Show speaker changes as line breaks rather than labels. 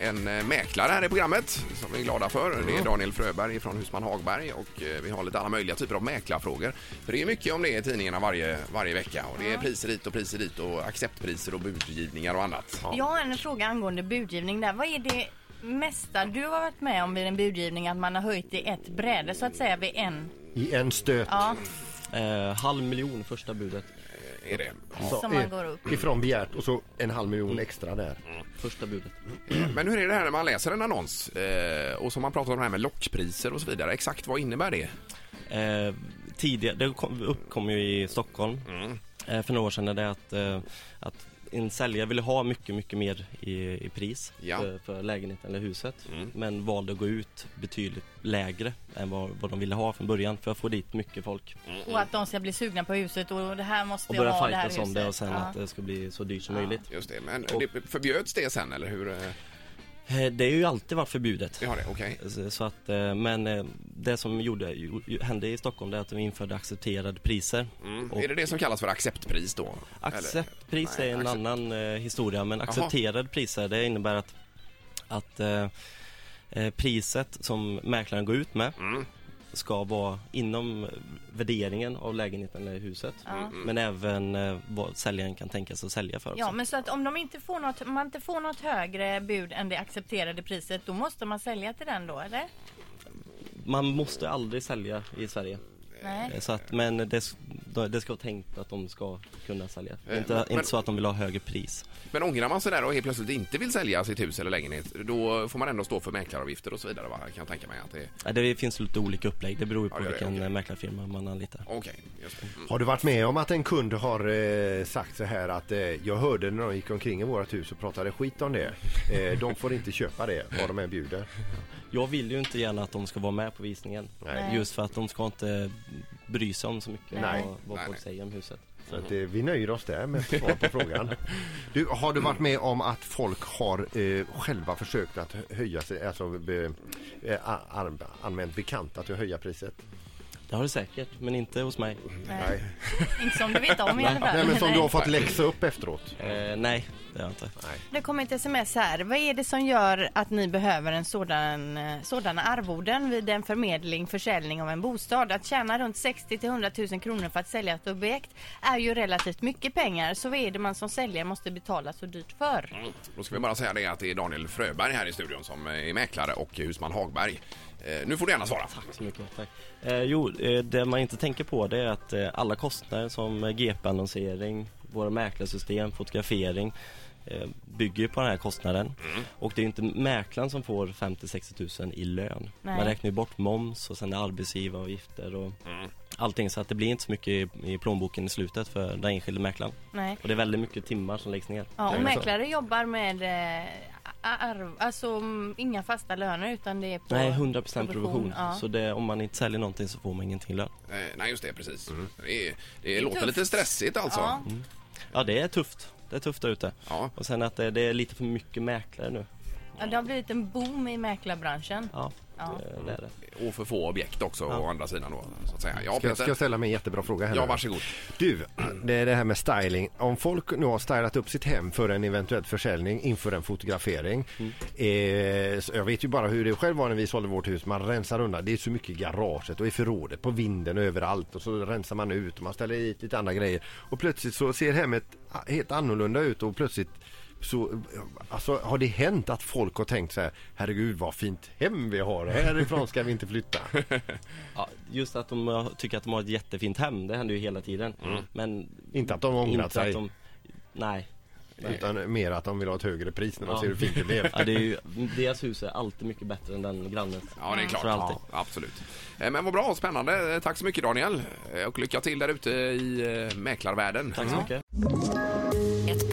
en eh, mäklare här i programmet som vi är glada för. Det är Daniel Fröberg från Husman Hagberg och eh, vi har lite alla möjliga typer av mäklarfrågor. För det är mycket om det i tidningarna varje, varje vecka och det är priser hit och priser dit och acceptpriser och budgivningar och annat.
Jag har en fråga angående budgivning där. Vad är det mesta du har varit med om vid en budgivning att man har höjt i ett bräde så att säga vid en?
I en stöt.
Ja,
Eh, halv miljon första budet.
Är det.
Så,
Som man
eh,
går upp.
Ifrån begärt och så en halv miljon extra där.
Första budet.
Men hur är det här när man läser en annons eh, och som man pratar om det här med lockpriser och så vidare. Exakt vad innebär det?
Eh, tidigare, det kom, uppkom ju i Stockholm
Mm.
eh, för några år sedan när det att, eh, att en säljare ville ha mycket, mycket mer i, i pris
Ja. Mm.
för, för lägenheten eller huset men valde att gå ut betydligt lägre än vad, vad de ville ha från början för att få dit mycket folk
Mm.
Och att de ska bli sugna på huset och det här måste
och
jag
börja
ha det här
fightas
huset.
om det och sen
ja.
att det ska bli så dyrt som möjligt.
Just det, men det förbjöds det sen eller hur? eh,
Eh, Det har ju alltid varit förbjudet.
Vi har det, okej.
Så- Så att, eh, men eh, det som gjorde, ju- ju- hände i Stockholm det är att de införde accepterade priser.
Mm.
Och-
Är det det som kallas för acceptpris då?
Acceptpris
Nej,
är en
accept-
annan eh, historia men accepterade priser det innebär att, att eh, eh, priset som mäklaren går ut med
Mm.
ska vara inom värderingen av lägenheten eller huset men även eh, vad säljaren kan tänka sig att sälja för.
Mm, Ja,
också.
men så att om de inte får något, om man inte får något högre bud än det accepterade priset, då måste man sälja till den då, eller?
Man måste aldrig sälja i Sverige. Eh,
Nej.
Så att, men det, s- det ska vara tänkt att de ska kunna sälja.
Eh,
inte,
men-
inte så att de vill ha högre pris.
Men ångrar man sig där och helt plötsligt inte vill sälja sitt hus eller lägenhet, då får man ändå stå för mäklaravgifter och så vidare va? Kan jag tänka mig att det
Ja, Det finns lite olika upplägg. Det beror ju på
Ja, det är det,
vilken
okej.
eh, mäklarfirma man anlitar.
Okej, just det. Mm.
Har du varit med om att en kund har eh, sagt så här att eh, jag hörde när de gick omkring i vårt hus och pratade skit om det. Eh, de får inte köpa det vad de än bjuder.
Jag vill ju inte gärna att de ska vara med på visningen.
Nej.
Just för att de ska inte bry sig om så mycket
Nej.
vad, vad
Nej,
folk
nej.
säger om huset.
Så att, eh, vi nöjer oss där med svar på frågan. Du, har du varit med om att folk har eh, själva försökt att höja sig, alltså be, eh, a- an- använt bekanta till att höja priset?
Det har det säkert, men inte hos mig.
Nej. Inte som du vet om i alla fall.
Nej men som
Nej.
du har fått läxa upp efteråt.
Eh, nej, det har jag inte.
Det kommer ett sms här. Vad är det som gör att ni behöver en sådan, eh, sådana arvoden vid en förmedling, försäljning av en bostad? Att tjäna runt 60 till 100 000 kronor för att sälja ett objekt är ju relativt mycket pengar. Så vad är det man som säljare måste betala så dyrt för?
Mm. Då ska vi bara säga det att det är Daniel Fröberg här i studion som eh, är mäklare och husman Hagberg. Eh, nu får du gärna svara.
Så mycket, tack. Eh, jo, eh, det man inte tänker på det är att eh, alla kostnader som eh, GP-annonsering, våra mäklarsystem, fotografering eh, bygger ju på den här kostnaden. Och det är ju inte mäklaren som får 50-60 000 i lön.
Nej.
Man räknar ju bort moms och sen är arbetsgivaravgifter och allting så att det blir inte så mycket i, i plånboken i slutet för den enskilde mäklaren.
Nej.
Och det är väldigt mycket timmar som läggs ner.
Ja, och mäklare jobbar med eh, arv, alltså mm, inga fasta löner utan det är på
Nej, 100% provision.
Ja.
Så det, om man inte säljer någonting så får man ingenting i lön.
Eh, nej, just det, precis. Det, är, det låter
tufft.
lite stressigt alltså.
Ja.
Ja, det är tufft. Det är tufft där ute.
Ja.
Och sen att det, det är lite för mycket mäklare nu.
Ja, det har blivit en boom i mäklarbranschen.
Ja,
Ja.
Det, det är det.
Mm. Och för få objekt också å andra sidan då, så att säga. Ja,
Ska, ska
Peter.
jag ställa mig en jättebra fråga här
Ja,
nu?
varsågod.
Du, det är det här med styling. Om folk nu har stylat upp sitt hem för en eventuell försäljning inför en fotografering. Eh, så jag vet ju bara hur det själv var när vi sålde vårt hus. Man rensar undan. Det är så mycket i garaget och i förrådet, på vinden och överallt. Och så rensar man ut och man ställer dit lite andra grejer. Och plötsligt så ser hemmet helt annorlunda ut och plötsligt så, alltså, har det hänt att folk har tänkt så här, herregud vad fint hem vi har, härifrån ska vi inte flytta.
Ja, just att de har- tycker att de har ett jättefint hem, det händer ju hela tiden.
Mm.
Men
Inte att de har ångrat
inte att
sig.
de... Nej.
Utan mer att de vill ha ett högre pris när de
Ja.
ser hur fint det blev.
Ja, det är ju, deras hus är alltid mycket bättre än den grannens. Mm.
Ja, det är klart.
För alltid.
Ja, absolut. Eh, Men vad bra, spännande. Eh, Tack så mycket Daniel. Eh, Och lycka till där ute i eh, mäklarvärlden.
Tack så mycket.
Ett